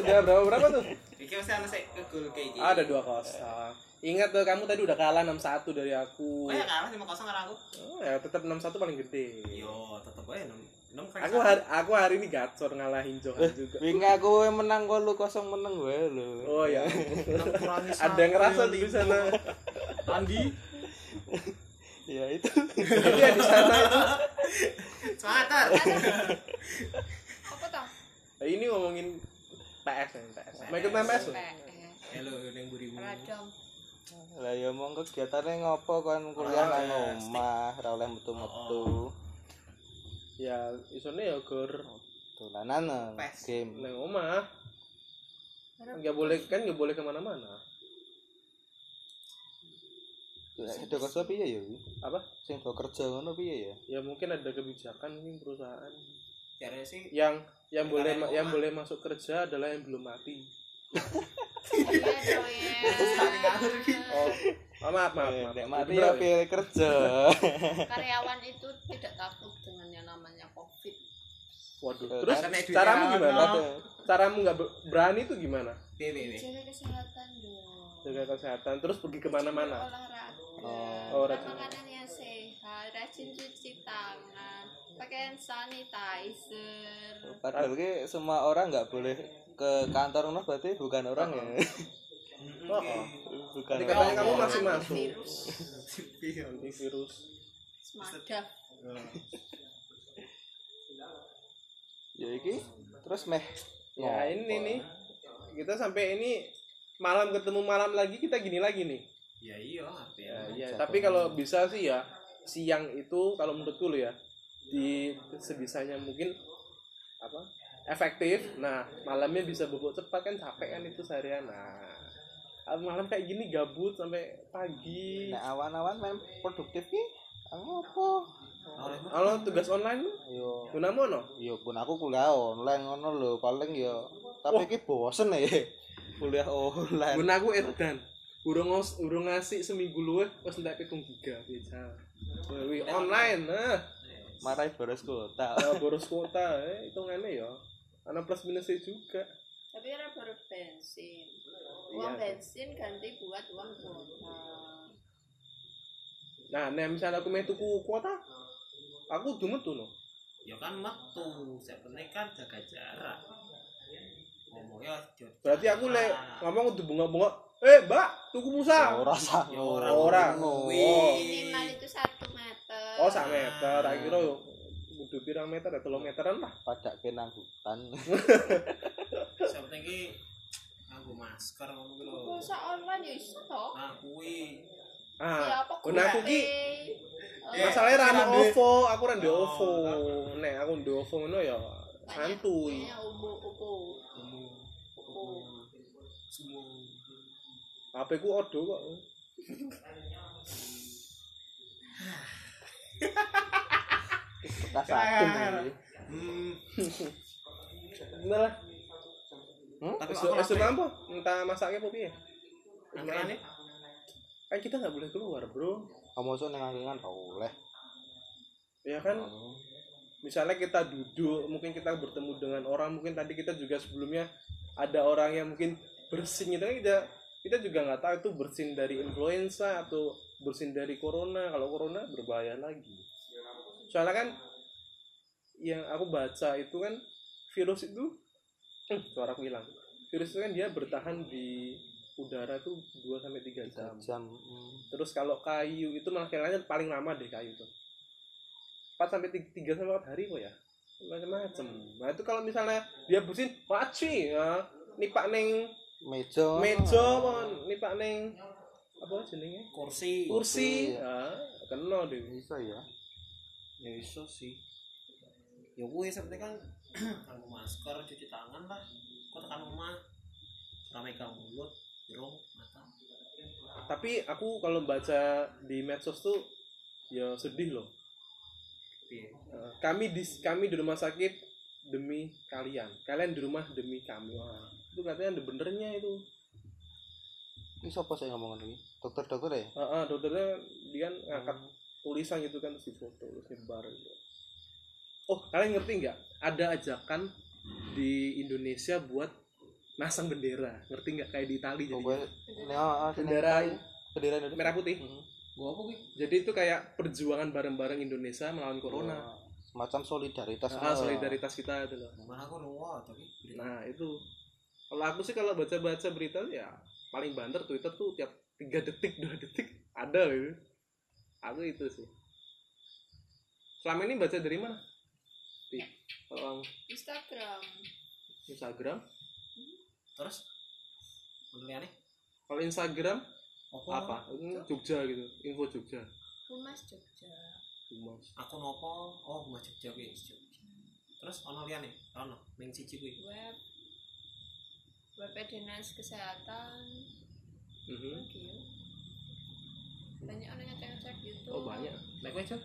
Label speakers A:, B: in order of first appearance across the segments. A: Nah, berapa berapa tuh?
B: Kiki sama saya ngegul kayak gini.
A: Ada dua kosong. Ingat loh kamu tadi udah kalah 6-1 dari aku.
B: Oh ya kalah lima kosong karena aku.
A: Oh, ya tetap 6-1 paling gede.
B: Yo Iya, tetep aja enam enam kali.
A: Aku hari, aku hari ini gacor ngalahin Johan juga.
C: Wingi Eh, aku yang menang kok lu kosong menang gue lu.
A: Oh ya.
B: Enam kurangi satu,
A: Ada yang ngerasa
B: lima.
A: di sana.
B: Andi.
C: Ya itu.
A: Iya di sana itu.
B: Semangat Tar.
D: Apa toh?
A: Nah, Ini ngomongin PS nih, PS. Mau ikut main PS?
B: PMS.
D: E.
A: lo?
D: PS.
B: Halo neng burimu.
D: Radom.
C: Lah ya mong kegiatane ngopo
A: Oh,
C: kon kuliah
B: Olahraga,
C: nang omah, ora oleh metu-metu.
A: Ya, isone ya gor
C: Dolanan nang
B: Pes.
C: game.
A: nang omah. Enggak boleh kan enggak boleh kemana mana
C: Itu kerja piye ya?
A: Apa?
C: Sing do kerja ngono piye ya?
A: Ya mungkin ada kebijakan mungkin perusahaan
B: Caranya sih
A: yang yang
B: Kita
A: boleh
B: nang
A: yang
B: omah.
A: boleh masuk kerja adalah yang belum mati.
D: Iya dong ya.
B: saling ngawur Ki.
A: Oh, oh, maaf maaf. maaf.
C: Eh, Nek
A: Jadi
C: mati ya
A: berapa ya?
C: pilih kerja.
D: Karyawan itu tidak takut dengan yang namanya COVID.
A: Waduh.
C: Eh,
A: Terus
B: karena duitnya
A: caramu
B: ono.
A: gimana?
C: Ada.
A: Caramu nggak be- berani tuh gimana?
B: Be, be, be.
D: Jaga kesehatan dong.
A: Jaga kesehatan terus pergi kemana-mana.
D: Olahraga.
C: Oh,
A: oh,
D: Makan
A: rajin.
D: makanan yang sehat, rajin cuci tangan, pakai hand sanitizer.
C: Padahal ki semua orang nggak boleh ke kantor ngono berarti bukan orang ya.
A: Oh, oh.
C: bukan.
A: Jadi katanya
C: orang.
A: kamu masih masuk.
D: Antivirus,
A: Iya, Antivirus.
D: smadaf.
C: Ya iki terus meh.
A: Ya
C: ngopo.
A: ini nih. Kita sampai ini malam ketemu malam lagi kita gini lagi nih.
B: Ya iya artinya.
A: Ya, iya. tapi kalau bisa sih ya siang itu kalau menurutku lo ya di sebisanya mungkin apa efektif. Nah malamnya bisa bobok cepat kan capek kan itu seharian. Nah malam kayak gini gabut sampai pagi.
C: Nek awan-awan main produktif ki ngopo?
A: Halo tugas online lu?
C: Ayo.
A: gunamu no?
C: Ya pun aku kuliah online ngono lho, paling ya tapi iki bosen ya. Kuliah online.
A: Gunaku edan. Urung ngos- urung ngasih seminggu luwe wis entek 7 giga bisa. Wih, online nah.
C: Marai boros kota.
A: Nah, boros kuota eh, hitungannya ya. Ana plus minusnya juga.
D: Tapi ada baru bensin. Uang
A: Iya.
D: bensin ganti buat uang kuota.
A: Nah, nek misalnya aku meh tuku kuota, aku dumet tuh no.
B: Ya kan waktu saya kan jaga jarak. Ngomongnya harus jaga
A: Berarti aku
B: jarak.
A: lek ngomong kudu bunga-bunga, "Eh, Mbak, tuku
C: Ya
A: musa."
C: ora sah.
B: Ya ora
A: Ora.
C: ngono.
D: Minimal itu satu meter.
A: Oh, sak meter. Tak kira yo kudu pirang meter ya 3 meteran lah.
C: Padak kenang hutan.
B: Saya penting nganggo masker ngono kuwi lho.
D: Masa online ya iso toh?
B: Nah, kuwi
A: Ah,
D: Ya apa
A: Nah, aku ki
D: Eh,
A: masalahnya
C: Iya,
A: rano
B: Rano.
A: OVO, aku rano
B: Oh,
A: OVO. Nek aku ndek OVO ngono ya santuy.
D: banyaknya ubo-ubo.
B: kamu semua
A: HP ku odo kok.
C: Kita satu. iki.
B: Hmm,
A: Bener lah.
C: Hmm?
B: tapi
A: Esuk
B: aku
A: esuk
B: lapar.
A: apa? Entah masaknya apa piye?
B: Angkerannya?
A: Kan kita nggak boleh keluar, Bro.
C: Kamu sok nang angin ora oleh.
A: Ya kan misalnya kita duduk mungkin kita bertemu dengan orang mungkin tadi kita juga sebelumnya ada orang yang mungkin bersin gitu kan kita kita juga nggak tahu itu bersin dari influenza atau bersin dari corona kalau corona berbahaya lagi soalnya kan yang aku baca itu kan virus itu eh, suara aku hilang virus itu kan dia bertahan di udara tuh 2 sampai 3 jam
C: Jam. mm.
A: Terus kalau kayu itu malah kayaknya paling lama deh kayu tuh. 4 sampai 3, sampai 4 hari kok ya. Macam-macam. Nah itu kalau misalnya dia bersin, maci ya. Nipak neng
C: Meja.
A: meja, pon. nipak neng apa jenenge?
B: kursi.
A: Kursi.
C: Kursi,
A: Ah,
C: ya.
A: kena deh.
C: Bisa ya.
B: Ya iso sih. Ya kuwi sampe kan nganggo masker, cuci tangan lah. Kok tekan rumah. Ramai kamu mulut, hidung, mata.
A: Tapi aku kalau baca di medsos tuh ya sedih loh.
B: Piye?
A: Eh, Kami di kami di rumah sakit demi kalian. Kalian di rumah demi kami. Wah, itu katanya ada benernya itu.
C: Iki sapa sing ngomong ngono iki? Dokter-dokter ya? Hmm,
A: Heeh, dokternya dia kan ngangkat tulisan gitu kan terus difoto terus nyebar gitu. Oh, kalian ngerti nggak? Ada ajakan di Indonesia buat masang bendera ngerti nggak kayak di Itali jadi
C: Pokoknya ini ah, ah, sini.
A: bendera
C: bendera Indonesia.
A: merah putih
C: Hmm.
B: Gua apa gue?
A: jadi itu kayak perjuangan bareng-bareng Indonesia melawan corona
C: Ya, Semacam solidaritas.
A: Ah,
C: lah.
A: solidaritas kita itu loh
B: Mana aku nunggu tapi
A: nah itu kalau aku sih kalau baca-baca berita ya paling banter Twitter tuh tiap tiga detik dua detik ada gitu aku itu sih selama ini baca dari mana di kalau
D: Instagram
A: Instagram
B: terus penelitiannya
A: kalau Instagram
B: apa?
A: apa Hmm, Jogja gitu info Jogja
D: Humas Jogja
A: Humas.
B: Aku nopo, oh gua Jogja gue Jogja. Terus ono liane, ono ning siji gue.
D: web web e dinas kesehatan
A: Mhm.
D: lagi ya. banyak orang ngecek-ngecek gitu
A: oh banyak
B: Lek kowe, Cuk?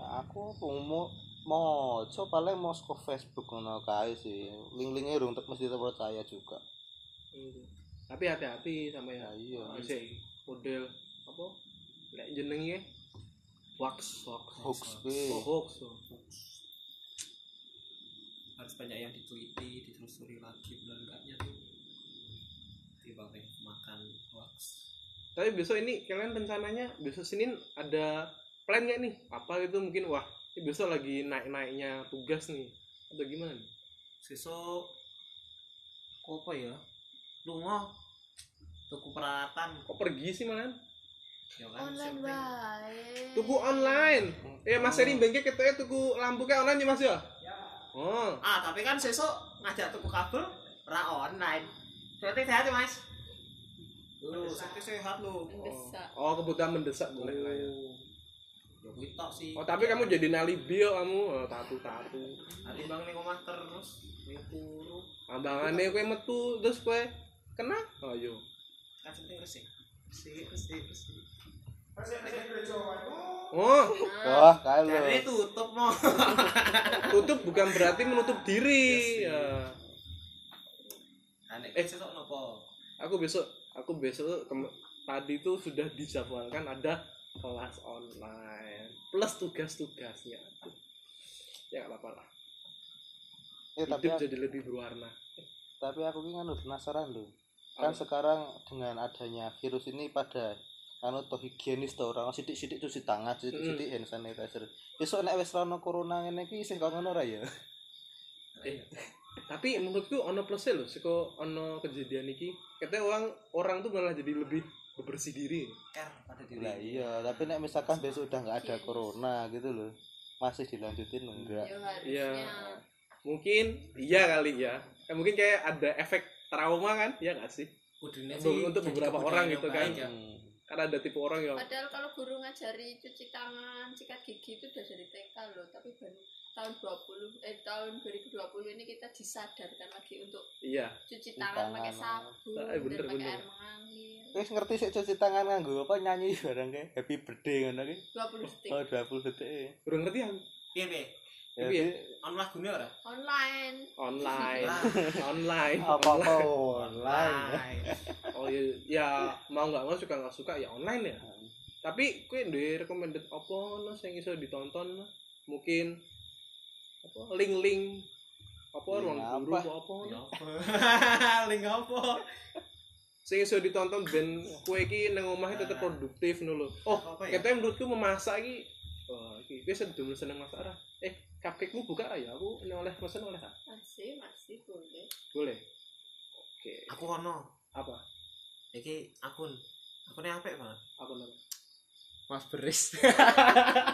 C: Nah, aku mau mau coba paling mau ke Facebook ngono kae sih. Link-linknya dong tetep mesti terpercaya juga.
A: Mhm. tapi hati-hati sama ya
C: Ya iya.
A: Bisa. model apa kayak jenengnya wax wax
C: Hoax
A: oh,
C: gue.
A: hoax oh.
B: Harus banyak yang diteliti, ditelusuri lagi benar enggaknya tuh. Dibanding makan hoax.
A: tapi besok ini kalian rencananya besok Senin ada plan nggak nih apa gitu mungkin wah ini besok lagi naik-naiknya tugas nih atau gimana nih?
B: Sesuk kok apa ya? Lunga tuku peralatan
A: kok pergi sih malan
B: ya kan,
D: online
B: syuting.
D: baik
A: tuku online ya mas Seri bengke ketoknya tuku lampu kayak online ya mas ya oh
B: Ah, tapi kan sesuk ngajak tuku kabel ra online. Berarti sehat ya, Mas? Lu sehat sehat lu.
D: mendesak
A: oh kebutuhan mendesak boleh lah ya
B: Ya kuwi tok sih.
A: oh tapi kamu jadi nalibi yo kamu oh, tatu tatu
B: Hari bang Nah, ning omah terus ning turu.
A: Ambangannya kue metu terus kue kena. Oh yo.
B: Kan penting resik. Resik, resik, resik.
A: Oh,
D: nah,
C: Wah, kae lho.
B: Jadi tutup no.
A: Eh. tutup bukan berarti menutup diri.
B: Iya sih.
A: Ya.
B: Aneh.
A: Eh.
B: Eh, sesuk nopo?
A: Aku besok, aku besok kem- tadi tuh sudah dijadwalkan ada kelas online plus tugas-tugasnya. Ya nggak apa-apa lah.
C: Eh, tapi
A: Hidup jadi lebih berwarna.
C: tapi aku ini kan penasaran loh. Kan
A: Apa?
C: sekarang dengan adanya virus ini pada anu to higienis to orang sithik-sithik cuci tangan, sithik-sithik hand sanitizer. Besok nek wis ra ono corona ngene iki isih kok ngono ra ya?
A: Eh. Tapi menurutku ono plusnya loh, seko ono kejadian iki. Katanya orang orang tuh malah jadi lebih bebersih diri.
B: Ker pada diri.
C: Lah iya, tapi nek misalkan besok udah nggak ada corona gitu loh. Masih dilanjutin enggak?
D: ya
A: Iya.
D: harusnya
A: Mungkin iya kali ya. Eh, mungkin kayak ada efek trauma kan? Ya nggak sih?
B: Kudune
A: Untuk-
B: sih
A: untuk
B: jadi
A: beberapa
B: kebudayaan
A: orang
B: yang
A: gitu
B: baik
A: kan.
B: ya.
C: Hmm.
A: Karena ada tipe orang yang
D: Padahal kalau guru ngajari cuci tangan, sikat gigi itu udah dari TK loh, tapi baru tahun 20 eh tahun 2020 ini kita disadarkan lagi untuk
A: iya.
D: cuci tangan pakai
C: tangan.
D: sabun
A: Eh, bener,
D: dan pakai
A: bener.
D: air mengalir.
C: Wis ngerti sik cuci tangan nganggo apa nyanyi barang kayak happy birthday ngono ki.
D: 20 detik
C: Oh 20 detik. eh.
A: Kurang ngerti kan? aku.
B: Piye piye?
C: Ya,
A: Tapi ya,
B: Ono lagune ora?
D: online.
A: online,
B: Ah,
A: online.
C: apa-apa online.
B: Online.
A: Oh iya, ya mau nggak mau suka nggak suka ya online ya. Tapi kue di recommended apa no sing iso ditonton no? Mungkin apa link-link apa
C: Link
A: ruang
C: apa?
A: guru apa apa no?
B: Ngopo? Ling ngopo?
A: Sing iso ditonton ben kue ki nang omahnya tetep produktif no lho. Oh,
B: Apa ya?
A: katanya menurutku memasak ki Oh, iki kue sedem seneng masak ra. Eh, cupcake-mu buka ra ya aku ini oleh pesen oleh ra?
D: Masih masih boleh.
A: Boleh. Oke.
B: Aku ono.
A: Apa?
B: Iki akun. Akunnya apik banget.
A: Apa namanya?
B: Mas Beris.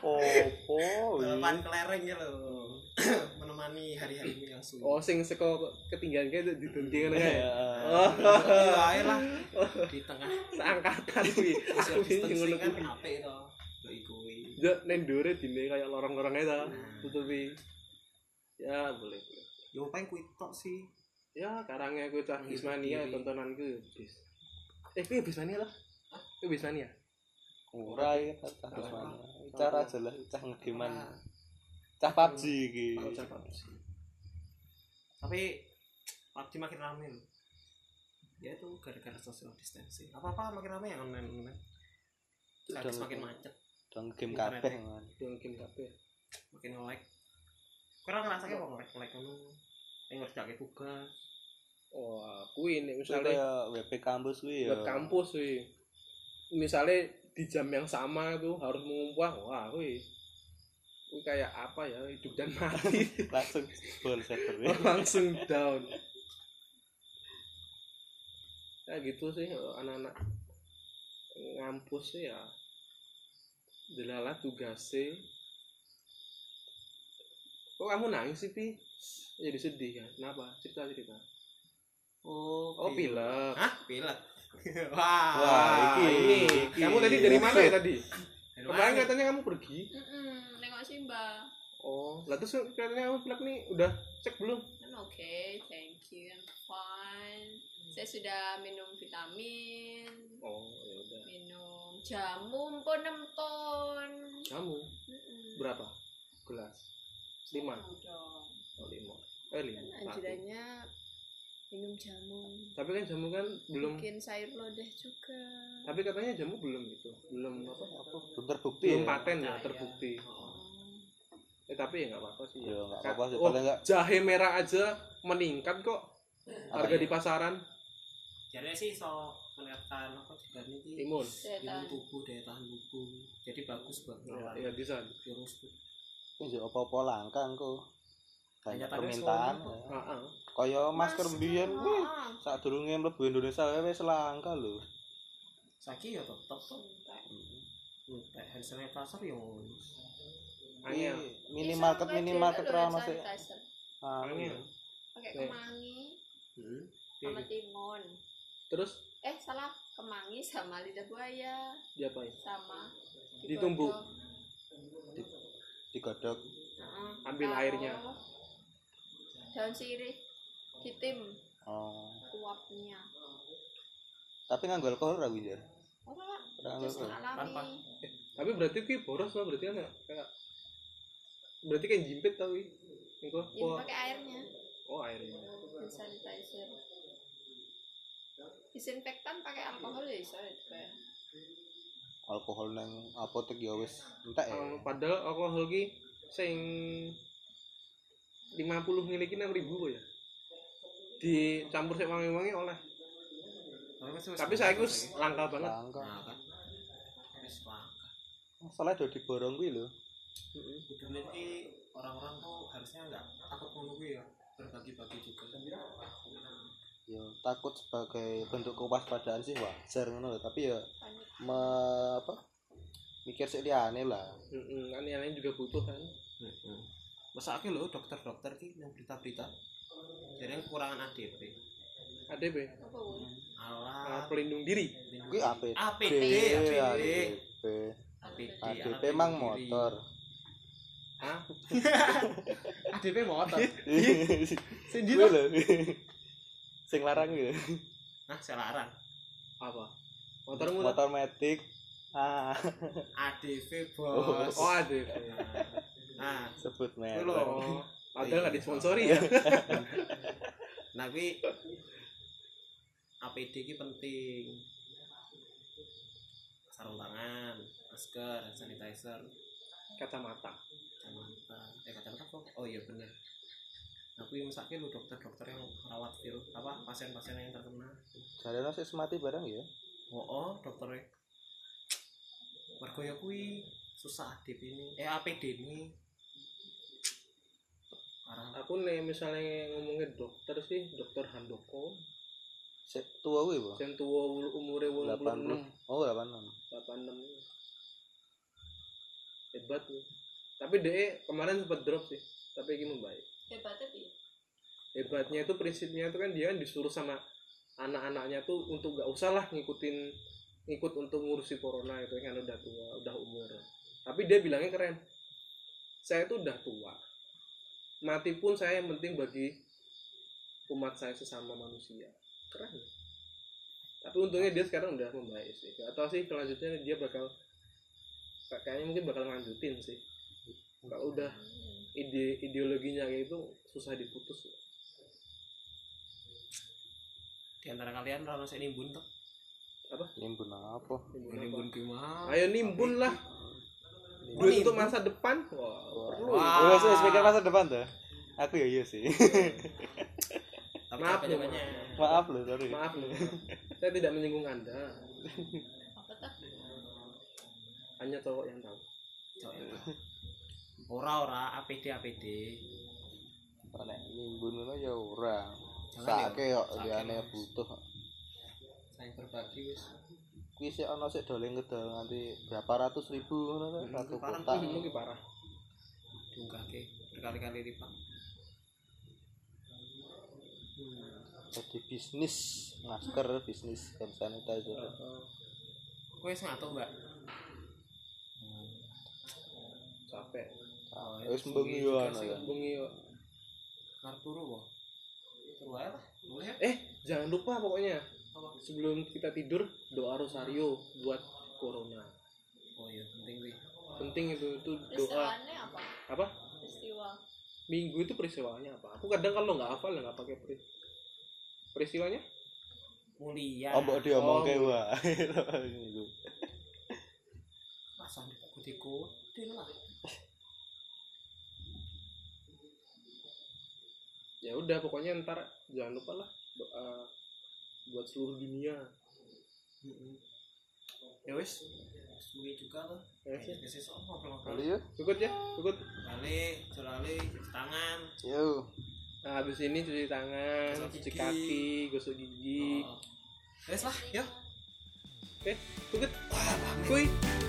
C: Opo.
B: Menemani kelereng ya lo. Menemani hari-harimu yang sunyi.
A: Oh, sing seko ketinggian kayak di duntingan kayak.
C: Oh.
A: Oh,
B: Iya ae lah. Di tengah
A: seangkatan kuwi.
B: social
A: Aku ini
B: distancing
A: ngono
B: kan
A: kuwi.
B: apik to. Lho iku kuwi.
A: Yo nek ndure dine kayak lorong-lorong ae
B: Hmm.
A: ta, tutupi. Ya, boleh. boleh.
B: Yo paling kuwi tok sih.
A: Ya, karangnya aku cah
B: Iya,
A: Bismania
B: iya.
A: tontonanku ya, bis. Eh, kuwi Bismania lah. Kuwi Bismania.
C: Ora ya
B: Ora.
C: Cara jelas cah ngegeman. Cah PUBG iki.
A: Aku cah apa sih?
B: Tapi PUBG makin rame lho. Ya itu gara-gara social distancing. Apa-apa makin rame ya online-online. Lagi
C: Udah.
B: semakin macet,
C: Dong game kabeh. man.
A: Mungkin kabeh.
B: makin nge-lag. Kurang ngerasa kayak kok nge-lag nge-lag ngono. Yang ngerjain tugas.
A: wah kuwi nek Oh,
C: Kuwi
A: misalnya
C: kayak WP kampus kuwi ya.
A: buat kampus kuwi misalnya di jam yang sama tuh harus mengumpah wah kuwi kuwi kayak apa ya hidup dan mati
C: Langsung bol server. e.
A: Oh, langsung down ya gitu sih kalau anak-anak ngampus sih ya delala tugasnya kok kamu nangis sih pi jadi sedih ya kenapa cerita cerita
B: Oh,
A: oh pilek
B: Hah? Pilek.
A: Ah,
B: Wah.
C: Wah, iki, iki.
A: kamu tadi dari mana ya tadi
B: Dari
A: kemarin
B: mana?
A: katanya kamu pergi
D: Mm-mm, nengok sih mbak.
A: oh lah terus katanya kamu pilek nih udah cek belum
D: I'm okay, Kan, thank you, I'm fine.
A: Hmm.
D: Saya sudah minum vitamin,
A: oh ya udah
D: minum jamu pun nempon.
A: kamu
D: Mm-mm.
A: berapa gelas lima
D: Tahu dong.
A: Oh, lima. Eh, lima.
D: Kan
A: Satu.
D: anjurannya minum jamu.
A: Tapi kan jamu kan belum
D: Bikin sayur lodeh juga.
A: tapi katanya jamu belum gitu. Belum apa?
C: Belum terbukti.
A: Belum
C: ya.
A: paten ya
B: Nah, iya.
A: terbukti.
B: Oh.
A: Eh tapi ya nggak apa-apa sih.
C: Ya
A: Ya.
C: enggak apa-apa sih
A: Oh,
C: paling enggak
A: Jahe merah aja meningkat kok harga
B: ya?
C: Apanya?
A: di pasaran.
B: Jadi sih so meningkatkan apa juga nih
A: Timun.
D: Saya
B: imun
D: tahan.
B: tubuh daya tahan tubuh. Jadi bagus buat ngelawan
A: Ya, ya bisa.
B: virus tuh.
C: Yo apa-apa langkang kok. Banyak
B: Kenyataannya
C: permintaan.
B: sono.
C: ya.
A: Heeh.
C: Kaya masker mbiyen kuwi
D: ah,
C: sadurunge mlebu Indonesia wae wis langka lho.
B: Saiki ya tetep tuh. Hmm. Kayak hand sanitizer ya ngono.
A: Angel.
C: Kuwi Minimarket
D: Bisa pakai
C: minimarket
D: dulu
C: ra ono sih.
D: sanitizer.
C: Ah,
A: Angel.
D: Pakai
A: Nih.
D: kemangi
B: Hmm.
D: sama timun.
A: Terus
D: Eh salah, kemangi sama lidah buaya
A: diapain?
D: sama
A: Ditumbuk.
D: digodok.
C: digodhog.
D: Heeh.
A: Ambil
D: Taruh
A: airnya.
D: Daun sirih hitim
C: Oh.
D: uapnya.
C: Tapi nganggo alkohol ra kuwi, Jar?
D: Ora lah,
C: Ora nganggo
D: terus
C: alkohol.
B: Apa?
D: alami.
A: Tapi berarti ki boros lah berarti kan ya, kayak berarti kan jimpit tau wi. Engko
D: Ini
A: oh,
D: pakai airnya
A: oh airnya.
D: hand sanitizer. Disinfektan pakai alkohol ya iso ya. juga.
C: Alkohol nang apotek ya wis entek ya.
A: Eh, padahal alkohol ki sing 50 ml ki 6000 kok ya. Dicampur sik wangi-wangi oleh. Tapi saya
B: itu
A: wis langka banget.
C: Langka.
B: Nah kan. Wis langka.
C: Masalah do diborong kuwi lho.
A: Heeh.
B: Udah nanti orang-orang tuh harusnya nggak takut menunggu ya berbagi-bagi juga.
C: Ya takut sebagai bentuk kewaspadaan sih wajar ngono lho, tapi ya
D: Panik.
C: me, apa? Mikir sik liyane lah.
A: Heeh, kan yang lain juga butuh kan.
B: Heeh. Hmm. Masa akhirnya lo dokter-dokter ki yang berita-berita jadi kekurangan ADP
A: ADB,
D: Apa woy?
A: alat
B: alat
A: Ah, pelindung diri.
C: Kuwi APD.
B: APD APD
C: APD.
B: APD
C: ADP mang
B: diri.
C: motor.
A: Hah?
B: ADP motor
C: Sing lho. Sing larang ya.
B: nah saya larang
A: Apa? Motormu lah.
C: Motor metik. Ah,
B: ADP
C: Oh,
B: bos
A: Oh, ADB.
B: nah
C: sebut merek.
B: Lho.
A: Oh, padahal nggak disponsori ya.
B: nah kuwi APD ki penting sarung tangan masker hand sanitizer
A: Kacamata.
B: kacamata eh kacamata kok oh iya bener aku yang sakit lu dokter dokter yang merawat virus apa pasien-pasien yang terkena
C: Jarene sik semati barang ya.
B: oh, oh dokternya mergo ya kuwi susah ADP ini eh APD ini parah
A: Aku nih misalnya ngomongin dokter sih, dokter Handoko,
C: Sik tuwa kuwi, Bu.
A: yang tua ul- umure 86.
C: 80. Oh, 86.
A: 86 ini. hebat nih tapi DE kemarin sempat drop sih tapi ini membaik
D: Hebatnya piye?
A: hebatnya itu prinsipnya itu kan dia kan disuruh sama anak-anaknya tuh untuk gak usah lah ngikutin ngikut untuk ngurusi corona itu kan udah tua udah umur tapi dia bilangnya keren saya tuh udah tua mati pun saya yang penting bagi umat saya sesama manusia keren ya? tapi untungnya dia sekarang udah membaik sih atau sih selanjutnya dia bakal kayaknya mungkin bakal lanjutin sih kalau udah ide ideologinya kayak itu susah diputus ya.
B: di antara kalian orang saya nimbun tuh
C: Nimbun apa?
A: Nimbun apa?
B: nimbun gimana
A: ayo nimbun lah duit untuk masa depan wah
C: Wah,
A: perlu
B: Wah.
C: Wah. Wah. mikir masa depan tuh. Aku ya iya sih.
B: Tapi
A: Maaf,
B: capek
A: Bu.
B: banyak.
C: Maaf loh, sorry.
A: Maaf loh, saya tidak menyinggung Anda.
D: apa tak
A: Hanya cowok yang tahu.
B: Cok, ya, Pak. Ora ora APD APD.
C: Oh, Nek nimbun ngono ya ora.
B: Jangan
C: Sake yo
B: Sake,
C: liyane
B: Mas.
C: butuh.
B: Saya berbagi wis.
C: Kuwi sik ana sik doling ngedol nganti berapa ratus ribu ngono to,
B: Hmm,
C: satu
B: parang.
C: kotak.
A: Mungkin parah.
B: Diunggahke berkali-kali lipat.
C: Jadi bisnis masker, bisnis hand sanitizer.
A: Heeh.
B: Kowe wis ngato, Mbak?
A: Capek.
B: Oh, ya,
C: Ah, Wis mbengi
B: sing-
C: yo
B: sing-
C: ana
B: sing-
C: ya.
A: Bungi. yuk.
B: Karep turu kok. Turu ae lah. Boleh ya?
A: Eh, jangan lupa pokoknya
B: Apa?
A: sebelum kita tidur doa rosario buat corona.
B: Oh iya penting kuwi.
A: Penting itu itu doa.
D: peristiwaannya apa
A: Apa?
D: peristiwa
A: Minggu itu peristiwanya apa? Aku kadang kalau nggak hafal ya nggak pakai peri. Peristiwanya?
B: Mulia.
C: Oh, mbok diomongke
A: Oh.
C: wae.
B: Pasang di tiku. lah.
A: Ya udah pokoknya ntar jangan lupa lah doa buat seluruh dunia.
B: Heeh. Ya wis. Suwi juga lah.
A: Ya sih.
B: Wis iso ngobrol-ngobrol.
C: Kali yo.
A: Cukup ya, cukup.
B: Balik, jolali, cuci tangan.
C: Yo.
A: Nah, habis ini cuci tangan,
B: Gosok
A: cuci
B: gigi.
A: kaki, Oh. gosok gigi.
B: Oh. Wis lah, yo.
A: Oke, cukup. Kuy.